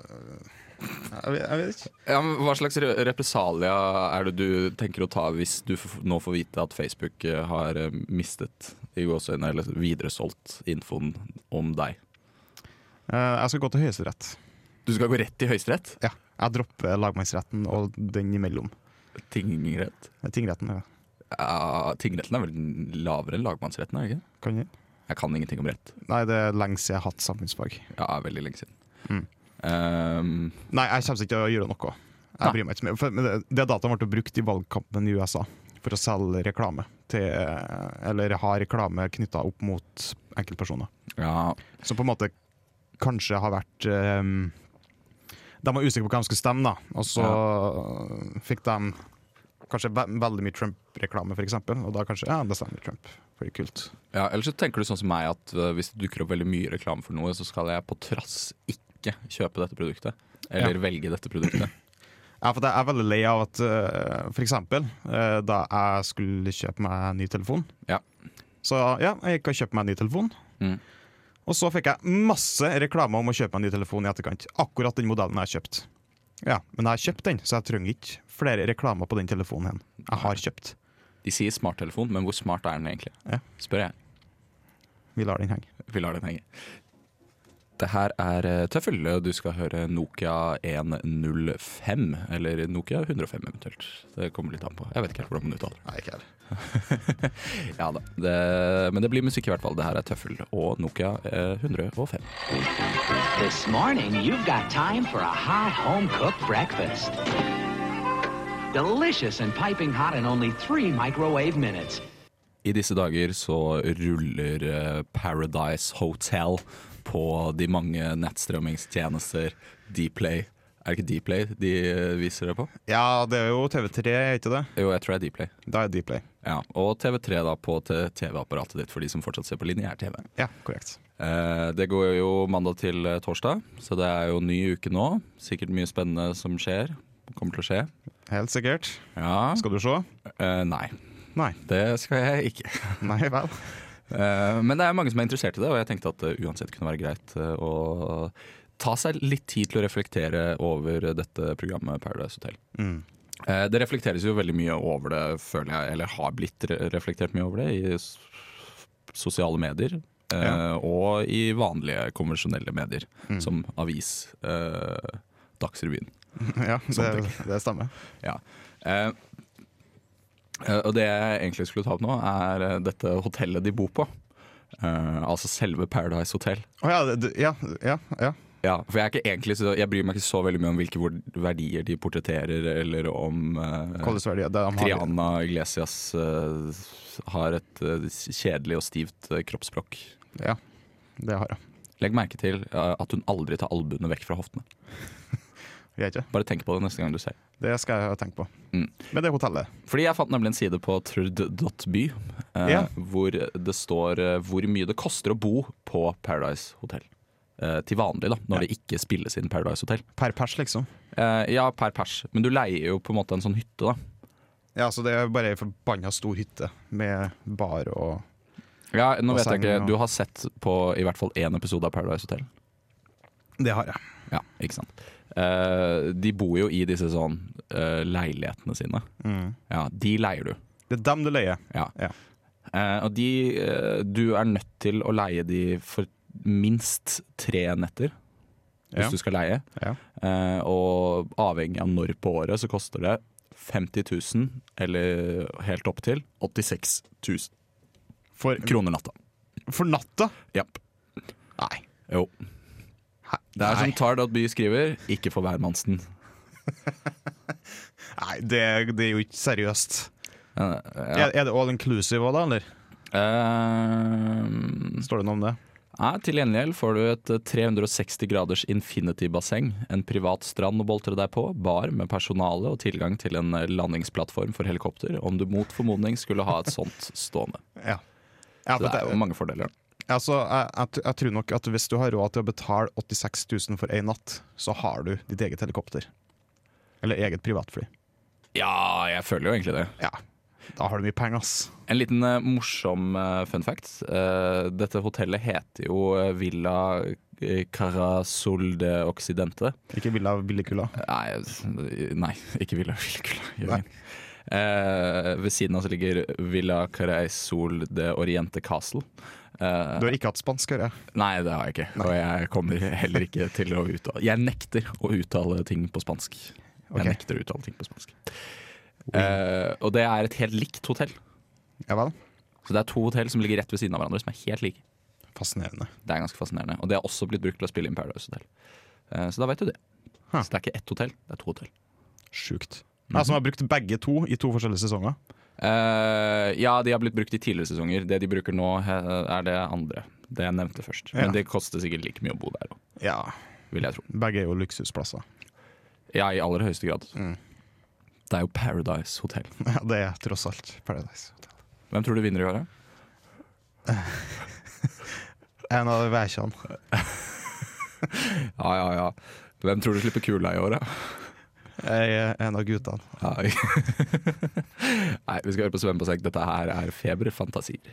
Speaker 5: jeg, vet, jeg vet ikke.
Speaker 2: Ja, men hva slags re- represalier er det du tenker å ta hvis du f nå får vite at Facebook eh, har eh, mistet i gåseøynene, eller videresolgt infoen om deg?
Speaker 5: Eh, Jeg skal gå til Høyesterett.
Speaker 2: Du skal gå rett til Høyesterett?
Speaker 5: Ja, jeg dropper lagmannsretten og den imellom.
Speaker 2: Tingrett?
Speaker 5: Eh, Tingretten, ja.
Speaker 2: Ja, tingretten er vel lavere enn lagmannsretten, er det ikke?
Speaker 5: Kan jeg?
Speaker 2: Jeg kan ingenting om rett.
Speaker 5: Nei, det er lenge siden jeg har hatt samfunnsfag.
Speaker 2: Ja, veldig lenge siden.
Speaker 5: Mm.
Speaker 2: Ehm,
Speaker 5: Nei, jeg kommer ikke til å gjøre noe.
Speaker 2: Nei.
Speaker 5: Jeg bryr meg ikke så mye. For- Men det, det dataen ble brukt i valgkampen i USA for å selge reklame til eh, Eller ha reklame knytta opp mot enkeltpersoner.
Speaker 2: ja,
Speaker 5: Som på en måte kanskje har vært ehm, De var usikre på hva de skulle stemme, da. Og så fikk de kanskje ve veldig mye Trump-reklame, f.eks. Og da kanskje Ja, da stemmer vi Trump. For det er kult.
Speaker 2: ja, ellers så tenker du sånn som meg at eh, hvis det dukker opp veldig mye reklame for noe, så skal jeg på trass ikke kjøpe dette produktet. Eller velge dette produktet.
Speaker 5: Ja, for jeg er veldig lei av at øh, for eksempel øh, da jeg skulle kjøpe meg en ny telefon
Speaker 2: Ja.
Speaker 5: Så ja, jeg gikk og kjøpte meg en ny telefon.
Speaker 2: Mm.
Speaker 5: Og så fikk jeg masse reklame om å kjøpe meg en ny telefon i etterkant. Akkurat den modellen jeg kjøpte. Ja, men jeg har kjøpt den, så jeg trenger ikke flere reklamer på den telefonen. igjen. Jeg har kjøpt.
Speaker 2: De sier smarttelefon, men hvor smart er den egentlig?
Speaker 5: Ja.
Speaker 2: Spør jeg.
Speaker 5: Vi lar den henge.
Speaker 2: Vi lar den henge. Det her er eh, Tøffel. Du skal høre Nokia 105, eller Nokia 105 eventuelt. Det kommer litt an på. Jeg vet ikke helt hvordan man uttaler det.
Speaker 5: Nei, ikke heller.
Speaker 2: Ja da. Det, men det blir musikk i hvert fall. Det her er Tøffel og Nokia eh, 105.
Speaker 10: This morning, you've got time for a hot home cooked breakfast. Delicious and piping hot in only three microwave minutes.
Speaker 2: I disse dager så ruller eh, Paradise Hotel på de mange nettstrømmingstjenester. Dplay. Er det ikke Dplay de eh, viser det på?
Speaker 5: Ja, det er jo TV3, er ikke det?
Speaker 2: Jo, jeg tror det er Dplay.
Speaker 5: Da er Dplay.
Speaker 2: Ja, Og TV3 da på t- TV-apparatet ditt for de som fortsatt ser på lineær-TV.
Speaker 5: Ja, korrekt.
Speaker 2: Eh, det går jo mandag til eh, torsdag, så det er jo ny uke nå. Sikkert mye spennende som skjer. Kommer til å skje.
Speaker 5: Helt sikkert.
Speaker 2: Ja
Speaker 5: Skal du se?
Speaker 2: eh, Nei,
Speaker 5: Nei.
Speaker 2: det skal jeg ikke.
Speaker 5: Nei vel.
Speaker 2: Eh, men det er mange som er interessert i det, og jeg tenkte at det uansett kunne være greit eh, å ta seg litt tid til å reflektere over dette programmet Paradise Hotel.
Speaker 5: Mm.
Speaker 2: Eh, Det reflekteres jo veldig mye over det, føler jeg, eller har blitt re- reflektert mye over det i s- sosiale medier. eh,
Speaker 5: Ja.
Speaker 2: Og i vanlige, konvensjonelle medier, som avis, eh, Dagsrevyen.
Speaker 5: Ja, det,
Speaker 2: Sånn
Speaker 5: det stemmer.
Speaker 2: Ja. Eh, eh, og det jeg egentlig skulle ta opp nå, er eh, dette hotellet de bor på. Eh, altså selve Paradise Hotel.
Speaker 5: Å ja, det- ja, ja, ja.
Speaker 2: Ja, for jeg, er ikke egentlig, så, jeg bryr meg ikke så veldig mye om hvilke vord- verdier de portretterer, eller om eh,
Speaker 5: Koldesverdige. Det de har.
Speaker 2: Triana Iglesias eh, har et eh, kjedelig og stivt eh, kroppsspråk.
Speaker 5: Ja, det har jeg.
Speaker 2: Legg merke til eh, at hun aldri tar albuene vekk fra hoftene.
Speaker 5: Greit, ja.
Speaker 2: Bare tenk på det neste gang du ser.
Speaker 5: Det skal jeg tenke på.
Speaker 2: Mm.
Speaker 5: Men det hotellet.
Speaker 2: Fordi jeg fant nemlig en side på trud.by eh,
Speaker 5: Ja.
Speaker 2: hvor det står eh, hvor mye det koster å bo på Paradise Hotel. Eh, til vanlig, da, når det ikke spilles inn Paradise Hotel.
Speaker 5: Per pers, liksom.
Speaker 2: Eh, ja, per pers, men du leier jo på en måte en sånn hytte, da.
Speaker 5: Ja, så Det er bare ei forbanna stor hytte med bar og
Speaker 2: Ja, nå vet jeg
Speaker 5: Basseng
Speaker 2: ikke,
Speaker 5: og-
Speaker 2: Du har sett på i hvert fall én episode av Paradise Hotel.
Speaker 5: Det har jeg.
Speaker 2: Ja, ikke sant. Eh, de bor jo i disse sånn eh, leilighetene sine.
Speaker 5: Mm.
Speaker 2: Ja, de leier du.
Speaker 5: Det er dem du leier.
Speaker 2: Ja.
Speaker 5: Ja.
Speaker 2: Eh, og de eh, Du er nødt til å leie de for minst tre netter hvis
Speaker 5: Ja.
Speaker 2: du skal leie.
Speaker 5: Ja.
Speaker 2: Eh, og avhengig av når på året, så koster det 50 000, eller helt opp til 86 000
Speaker 5: For,
Speaker 2: kroner natta.
Speaker 5: for natta?
Speaker 2: Japp.
Speaker 5: Nei.
Speaker 2: Jo. Det er som Tar.by skriver, ikke for hvermannsen.
Speaker 5: Nei, det, det er jo ikke seriøst.
Speaker 2: Eh,
Speaker 5: Er, er det all inclusive òg, da? eller?
Speaker 2: eh,
Speaker 5: Står det noe om det?
Speaker 2: Ja, til gjengjeld får du et eh, 360 graders infinity-basseng, en privat strand å boltre deg på, bar med personale og tilgang til en eh, landingsplattform for helikopter, om du mot formodning skulle ha et sånt stående.
Speaker 5: Ja.
Speaker 2: Så
Speaker 5: Ja, for
Speaker 2: det
Speaker 5: det,
Speaker 2: er jo mange fordeler.
Speaker 5: altså, jeg, jeg, tr- jeg tror nok at Hvis du har råd til å betale 86 000 for én natt, så har du ditt eget helikopter. Eller eget privatfly.
Speaker 2: Ja, jeg føler jo egentlig det.
Speaker 5: Ja, Da har du mye penger, ass.
Speaker 2: En liten eh, morsom eh, fun fact. Eh, dette hotellet heter jo eh, Villa eh, Carasol de Occidente.
Speaker 5: Ikke Villa Villikula.
Speaker 2: Nei, altså, nei ikke Villa Vilkula. Jørgen. Eh, ved siden av så ligger Villa Caraisol de Oriente Castle. Eh,
Speaker 5: Du har ikke hatt spansk, hører jeg.
Speaker 2: nei, det har jeg ikke. Og jeg kommer heller ikke til å uttale Jeg nekter å uttale ting på spansk.
Speaker 5: Ok.
Speaker 2: Jeg nekter å uttale ting på spansk. Eh, og det er et helt likt hotell.
Speaker 5: Ja vel?
Speaker 2: Så det er to hotell som ligger rett ved siden av hverandre, som er helt like.
Speaker 5: Fascinerende.
Speaker 2: Det er ganske fascinerende. Og det har også blitt brukt til å spille inn Paradise Hotel. Eh, så da veit du det.
Speaker 5: Huh.
Speaker 2: Så det er ikke ett hotell, det er to hotell.
Speaker 5: Sjukt. Jeg som har brukt begge to i to forskjellige sesonger.
Speaker 2: Eh, ja, de har blitt brukt i tidligere sesonger. Det de bruker nå, eh, er det andre. Det jeg nevnte først.
Speaker 5: Ja.
Speaker 2: Men det koster sikkert like mye å bo der òg,
Speaker 5: Ja,
Speaker 2: vil jeg tro.
Speaker 5: Begge er jo luksusplasser.
Speaker 2: Ja, i aller høyeste grad.
Speaker 5: Mm.
Speaker 2: Det er jo Paradise Hotel.
Speaker 5: Ja, Det er tross alt Paradise Hotel.
Speaker 2: Hvem tror du vinner i året?
Speaker 5: En av veikjene.
Speaker 2: Ja, ja, ja. Hvem tror du slipper kula i året?
Speaker 5: En av guttene.
Speaker 2: Ja. Nei, vi skal høre på svømmebasseng. Dette her er feberfantasier.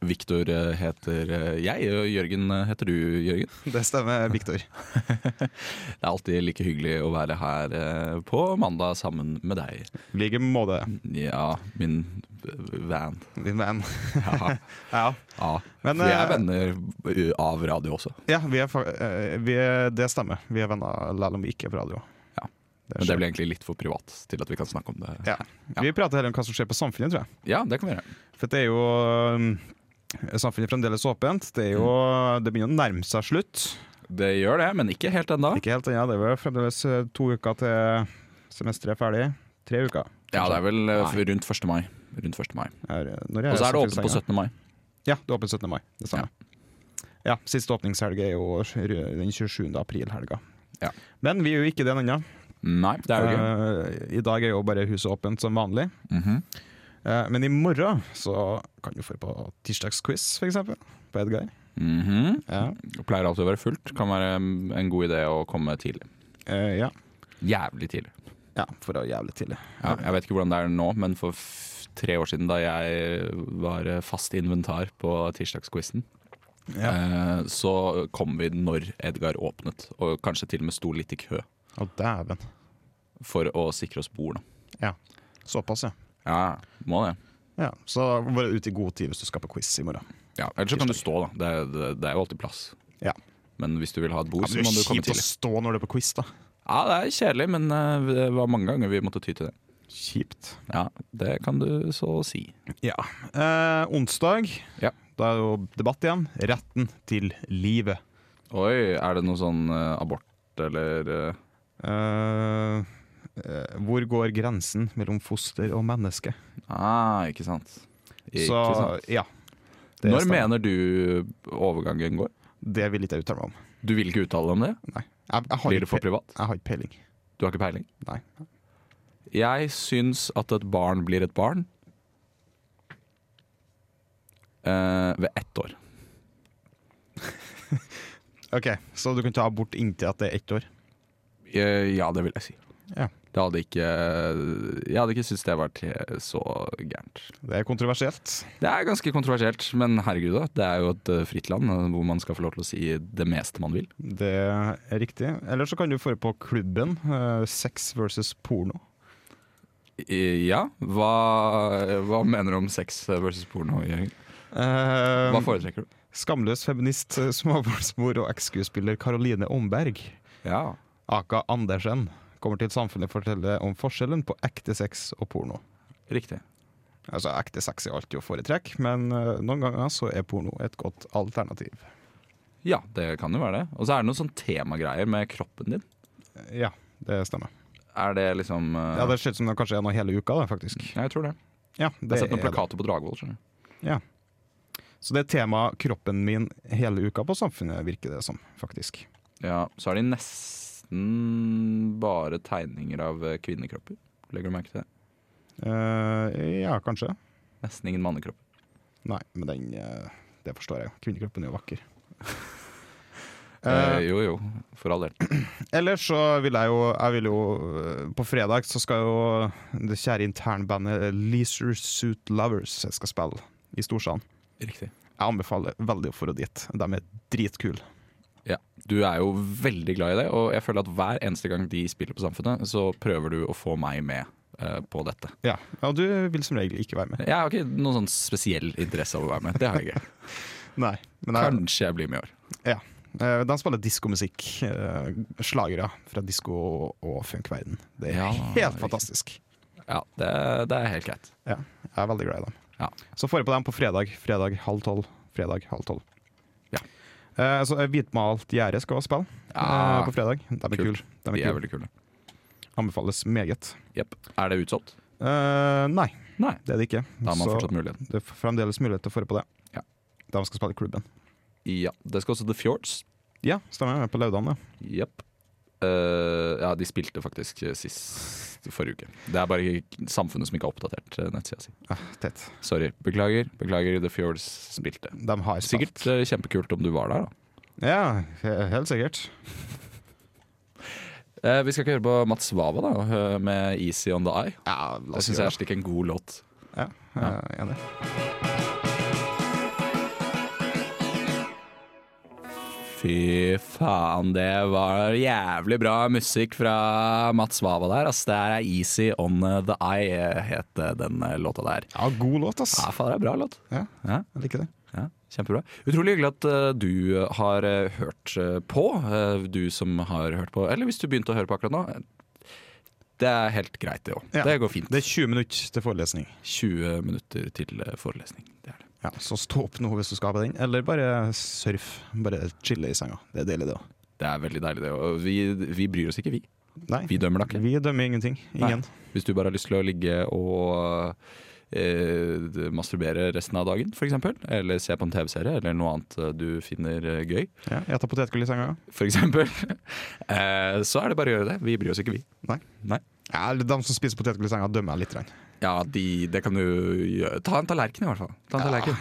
Speaker 2: Viktor eh, heter eh, jeg, og Jørgen eh, heter du, Jørgen.
Speaker 5: Det stemmer, Viktor.
Speaker 2: Det er alltid like hyggelig å være her eh, på mandag sammen med deg.
Speaker 5: Like måte,
Speaker 2: Ja, min v- van.
Speaker 5: min venn.
Speaker 2: Ja,
Speaker 5: Ja.
Speaker 2: ja.
Speaker 5: Men,
Speaker 2: Vi er
Speaker 5: eh,
Speaker 2: venner av radio også.
Speaker 5: Ja, vi er, fa- eh, vi er, det stemmer. Vi er venner selv om vi ikke er på radio.
Speaker 2: Ja.
Speaker 5: Det er
Speaker 2: Men det
Speaker 5: sjukt.
Speaker 2: blir egentlig litt for privat til at vi kan snakke om det.
Speaker 5: ja.
Speaker 2: Ja.
Speaker 5: Vi prater heller om hva som skjer på samfunnet, tror jeg.
Speaker 2: Ja, det kan vi gjøre.
Speaker 5: For det er jo um, Samfunnet er fremdeles åpent. Det, er jo,
Speaker 2: Mm.
Speaker 5: det begynner å nærme seg slutt.
Speaker 2: Det gjør det, men ikke helt ennå.
Speaker 5: Ikke helt ennå. Det er jo fremdeles eh, to uker til semesteret er ferdig. Tre uker.
Speaker 2: Ja, det er vel eh, rundt 1. mai. Rundt 1. mai.
Speaker 5: Er, når
Speaker 2: Og så er det åpent på
Speaker 5: samfunnssenga?
Speaker 2: 17. mai.
Speaker 5: Ja, det er åpent 17. mai. Det stemmer. Ja. Siste åpningshelg er jo den 27. april-helga.
Speaker 2: Ja.
Speaker 5: Men vi er jo ikke den ennå.
Speaker 2: Nei, det er jo ikke
Speaker 5: Eh, I dag er jo bare huset åpent som vanlig.
Speaker 2: Mhm.
Speaker 5: Eh, Men i morgen så kan du få på tirsdagsquiz, for eksempel. På Edgar.
Speaker 2: Mhm.
Speaker 5: Ja.
Speaker 2: Det Pleier alltid å være fullt. Kan være mm, en god idé å komme tidlig.
Speaker 5: Eh, ja.
Speaker 2: Jævlig tidlig.
Speaker 5: ja, for å jævlig tidlig.
Speaker 2: Ja, jeg vet ikke hvordan det er nå, men for f tre år siden da jeg var eh, fast inventar på tirsdagsquizen, eh, så kom vi når Edgar åpnet, og kanskje til og med sto litt i kø
Speaker 5: Å, dæven.
Speaker 2: for å sikre oss bord. Da.
Speaker 5: Ja. Såpass, ja.
Speaker 2: Ja, må det.
Speaker 5: ja. Så være ute i god tid hvis du skal på quiz i morgen.
Speaker 2: Ja, Ellers så kan du stå, da. Det, er- det, det er jo alltid plass.
Speaker 5: Ja.
Speaker 2: Men hvis du vil ha et bord,
Speaker 5: Ja,
Speaker 2: så
Speaker 5: men
Speaker 2: må
Speaker 5: det
Speaker 2: du
Speaker 5: er
Speaker 2: komme
Speaker 5: kjipt å
Speaker 2: tidlig.
Speaker 5: stå når du er på quiz, da.
Speaker 2: Ja, det er kjedelig, men eh, det var mange ganger vi måtte ty til det.
Speaker 5: Kjipt.
Speaker 2: Ja, det kan du så si.
Speaker 5: Ja. Eh, onsdag,
Speaker 2: Ja.
Speaker 5: da er det jo debatt igjen. Retten til livet.
Speaker 2: Oi, er det noe sånn eh, abort eller eh,
Speaker 5: Eh, eh, hvor går grensen mellom foster og menneske?
Speaker 2: Ah, ikke sant. Ikke
Speaker 5: Så
Speaker 2: sant.
Speaker 5: ja. Det
Speaker 2: Når
Speaker 5: stemmer.
Speaker 2: mener du overgangen går?
Speaker 5: Det vil ikke jeg uttale meg om.
Speaker 2: Du vil ikke uttale deg om det?
Speaker 5: Nei. Jeg, jeg, har
Speaker 2: Blir det
Speaker 5: ikke
Speaker 2: for
Speaker 5: pe-
Speaker 2: privat?
Speaker 5: jeg har ikke peiling.
Speaker 2: Du har ikke peiling?
Speaker 5: Nei.
Speaker 2: Jeg syns at et barn blir et barn eh, ved ett år.
Speaker 5: Ok, Så du kan ta abort inntil at det er ett år?
Speaker 2: Eh, ja, det vil jeg si.
Speaker 5: Ja.
Speaker 2: Det hadde ikke Jeg hadde ikke syntes det var til så gærent.
Speaker 5: Det er kontroversielt.
Speaker 2: Det er ganske kontroversielt, men herregud, da. Det er jo et eh, fritt land eh, hvor man skal få lov til å si det meste man vil.
Speaker 5: Det er riktig. Eller så kan du få det på klubben. eh, sex versus porno.
Speaker 2: Eh, Ja, hva, hva mener du om sex versus porno, Jørgen?
Speaker 5: Eh,
Speaker 2: Hva foretrekker du?
Speaker 5: skamløs feminist, eh, småbarnsmor og eks-skuespiller Caroline Omberg,
Speaker 2: Ja.
Speaker 5: aka Andersen, kommer til Samfunnet for å fortelle om forskjellen på ekte sex og porno.
Speaker 2: Riktig.
Speaker 5: Altså, Ekte sex er alltid å foretrekke, men eh, noen ganger så er porno et godt alternativ.
Speaker 2: Ja, det kan jo være det. Og så er det noen sånn temagreier med kroppen din.
Speaker 5: Ja, det stemmer.
Speaker 2: Er det liksom eh,
Speaker 5: Ja, Det ser ut som det kanskje er noe hele uka, da, faktisk.
Speaker 2: ja, jeg tror det.
Speaker 5: Ja,
Speaker 2: Jeg
Speaker 5: det
Speaker 2: har sett noen
Speaker 5: er det.
Speaker 2: plakater på Dragvoll. skjønner du.
Speaker 5: Ja. Så det er tema 'kroppen min' hele uka på Samfunnet, virker det som, faktisk.
Speaker 2: Ja, Så er de nesten bare tegninger av eh, kvinnekropper. Legger du merke til det?
Speaker 5: Eh, ja, kanskje.
Speaker 2: Nesten ingen mannekropper.
Speaker 5: Nei, men den eh, Det forstår jeg. Kvinnekroppen er jo vakker.
Speaker 2: Eh,
Speaker 5: Eh,
Speaker 2: jo jo, for all del.
Speaker 5: ellers så vil jeg jo Jeg vil jo eh, På fredag så skal jo det kjære internbandet Leisure Suit Lovers jeg skal spille i Storsand.
Speaker 2: Riktig.
Speaker 5: Jeg anbefaler veldig å få dit. De er dritkule.
Speaker 2: Ja, Du er jo veldig glad i det, og jeg føler at hver eneste gang de spiller på Samfunnet, så prøver du å få meg med eh, på dette.
Speaker 5: Ja. og du vil som regel ikke være med.
Speaker 2: Jeg har ikke noen sånn spesiell interesse av å være med. Det har jeg ikke.
Speaker 5: Nei, men jeg,
Speaker 2: Kanskje jeg blir med i år.
Speaker 5: Ja. Eh, De spiller diskomusikk. eh, Slagere fra disko- og- og funkverden. Det er
Speaker 2: Ja,
Speaker 5: helt
Speaker 2: riktig.
Speaker 5: fantastisk.
Speaker 2: Ja, det, det er helt greit.
Speaker 5: Ja, jeg er veldig glad i dem.
Speaker 2: Ja.
Speaker 5: Så får jeg på dem på fredag. Fredag halv tolv. Fredag halv tolv.
Speaker 2: Ja.
Speaker 5: Eh, så eh, Hvitmalt gjerde skal også spille
Speaker 2: Ja,
Speaker 5: eh, på fredag. De er
Speaker 2: Ah, kult.
Speaker 5: kule. De er
Speaker 2: De er
Speaker 5: kul.
Speaker 2: veldig kule.
Speaker 5: Anbefales meget.
Speaker 2: Jepp. Er det utsolgt?
Speaker 5: Eh, nei,
Speaker 2: Nei.
Speaker 5: det er det ikke.
Speaker 2: Da har man
Speaker 5: så
Speaker 2: fortsatt muligheten.
Speaker 5: det er fremdeles mulighet til å få det på det.
Speaker 2: Ja.
Speaker 5: De skal spille i klubben.
Speaker 2: Ja, Det skal også The Fjords.
Speaker 5: Ja, stemmer. jeg er På Laudan, ja.
Speaker 2: Jepp. Eh, ja, de spilte faktisk sist forrige uke. Det er bare ikke- samfunnet som ikke har oppdatert eh, nettsida si.
Speaker 5: Ah, tett.
Speaker 2: Sorry. Beklager. Beklager, The Fjords spilte.
Speaker 5: De har spilt.
Speaker 2: Sikkert eh, kjempekult om du var der, da.
Speaker 5: Ja, he- helt sikkert.
Speaker 2: Eh, vi skal ikke høre på Mats Svava da, eh, med 'Easy On The Eye'.
Speaker 5: Ja,
Speaker 2: Det syns jeg er slik en god låt.
Speaker 5: Ja, eh, jeg er enig.
Speaker 2: Fy faen, det var jævlig bra musikk fra Mats Svava der. ass. det er 'Easy On The Eye' het den eh, låta der.
Speaker 5: Ja, god låt, ass.
Speaker 2: Ja, faen, det er bra låt.
Speaker 5: Ja,
Speaker 2: Ja.
Speaker 5: jeg liker det.
Speaker 2: Ja, Kjempebra. Utrolig hyggelig at eh, du har eh, hørt eh, på. eh, du som har hørt på, eller hvis du begynte å høre på akkurat nå. eh, Det er helt greit, det òg.
Speaker 5: Ja.
Speaker 2: Det går fint.
Speaker 5: Det er 20 minutter til forelesning.
Speaker 2: 20 minutter til eh, forelesning. Det er det.
Speaker 5: Ja, Så stå opp nå hvis du skal på den, eller bare surf. Bare chille i senga. Det er deilig, det òg.
Speaker 2: Det er veldig deilig, det. Og vi, vi bryr oss ikke, vi.
Speaker 5: Nei,
Speaker 2: Vi dømmer deg ikke.
Speaker 5: vi dømmer ingenting. Ingen.
Speaker 2: Nei. Hvis du bare har lyst til å ligge og eh, masturbere resten av dagen, f.eks. Eller se på en TV-serie, eller noe annet eh, du finner eh, gøy,
Speaker 5: Ja, jeg tar potetgull i senga.
Speaker 2: f.eks. eh, så er det bare å gjøre det. Vi bryr oss ikke, vi.
Speaker 5: Nei.
Speaker 2: Nei.
Speaker 5: Ja, eller De som spiser potetgull i senga, dømmer jeg litt. grann.
Speaker 2: Ja, de, det kan du gjøre. Ta en tallerken i hvert fall. Ta en tallerken.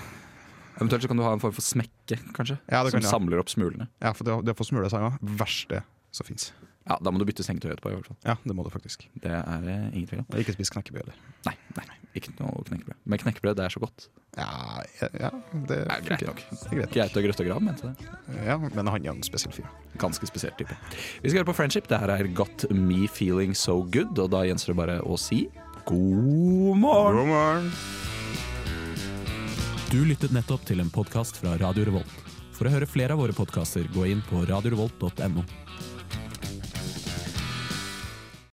Speaker 2: Eventuelt så kan du ha en form for smekke, kanskje.
Speaker 5: Ja,
Speaker 2: som
Speaker 5: det kan jeg.
Speaker 2: samler opp smulene.
Speaker 5: Ja, for det, det å få smule i senga, verste som fins.
Speaker 2: Ja, Da må du bytte sengetøy etterpå. i hvert fall.
Speaker 5: Ja, det må du faktisk.
Speaker 2: Det er eh, ingen tvil om.
Speaker 5: Og ikke spis knekkebrød heller.
Speaker 2: Nei, nei, ikke noe knekkebrød. Men knekkebrød, det er så godt.
Speaker 5: Ja, ja, ja, det
Speaker 2: Det er greit nok.
Speaker 5: Det er greit.
Speaker 2: Greit og grøtt og grav, mente det.
Speaker 5: Ja, Men han er en spesiell fyr.
Speaker 2: Ganske spesiell type. Vi skal høre på Friendship. Det her er Got Me Feeling So Good, og da gjenstår det bare å si god morgen!
Speaker 5: God morgen.
Speaker 11: Du lyttet nettopp til en podkast fra Radio Revolt. For å høre flere av våre podkaster, gå inn på radiorevolt.no.